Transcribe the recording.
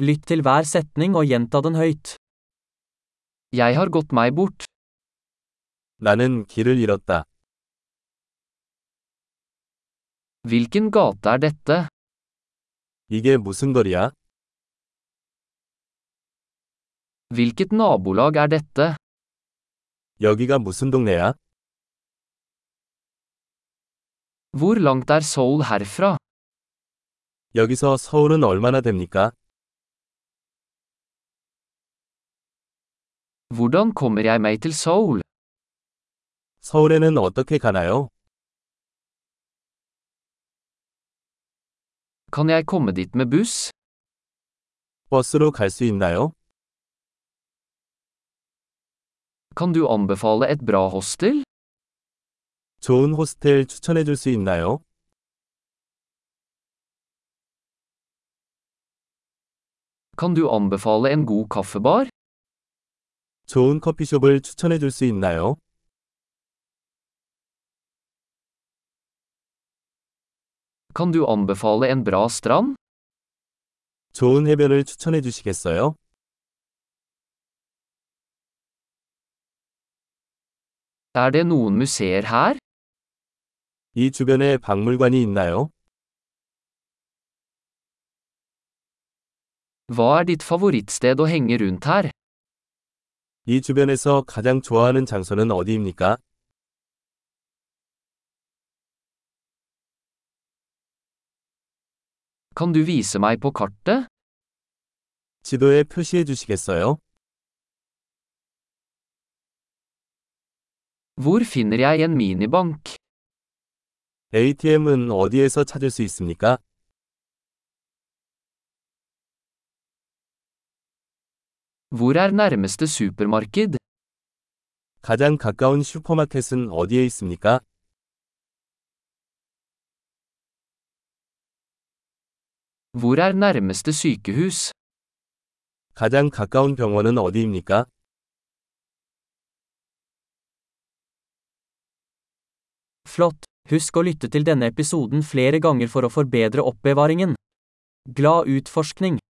Lytt til hver setning og gjenta den høyt. Jeg har gått meg bort. 나는 길을 잃었다. Hvilken gate er dette? 이게 무슨 거리야? Hvilket nabolag er dette? 여기가 무슨 동네야? Hvor langt er Seoul herfra? 여기서 서울은 얼마나 됩니까? Hvordan kommer jeg meg til Seoul? 서울에는 어떻게 가나요? Kan jeg komme dit med buss? 버스로 갈 수 있나요? Kan du anbefale et bra hostel? 좋은 호스텔 추천해 줄 수 있나요? Kan du anbefale en god kaffebar? 좋은 커피숍을 추천해 줄 수 있나요? Kan du anbefale en bra strand? 좋은 해변을 추천해 주시겠어요? Er det noen museer her? 이 주변에 박물관이 있나요? Hva er ditt favorittsted å henge rundt her? 이 주변에서 가장 좋아하는 장소는 어디입니까? Kan du vise meg på kartet? 지도에 표시해 주시겠어요? Hvor finner jeg en minibank? ATM은 어디에서 찾을 수 있습니까? Hvor er nærmeste supermarked? 가장 가까운 슈퍼마켓은 어디에 있습니까? Hvor er nærmeste sykehus? 가장 가까운 병원은 어디입니까? Flott! Husk å lytte til denne episoden flere ganger for å forbedre oppbevaringen. Glad utforskning!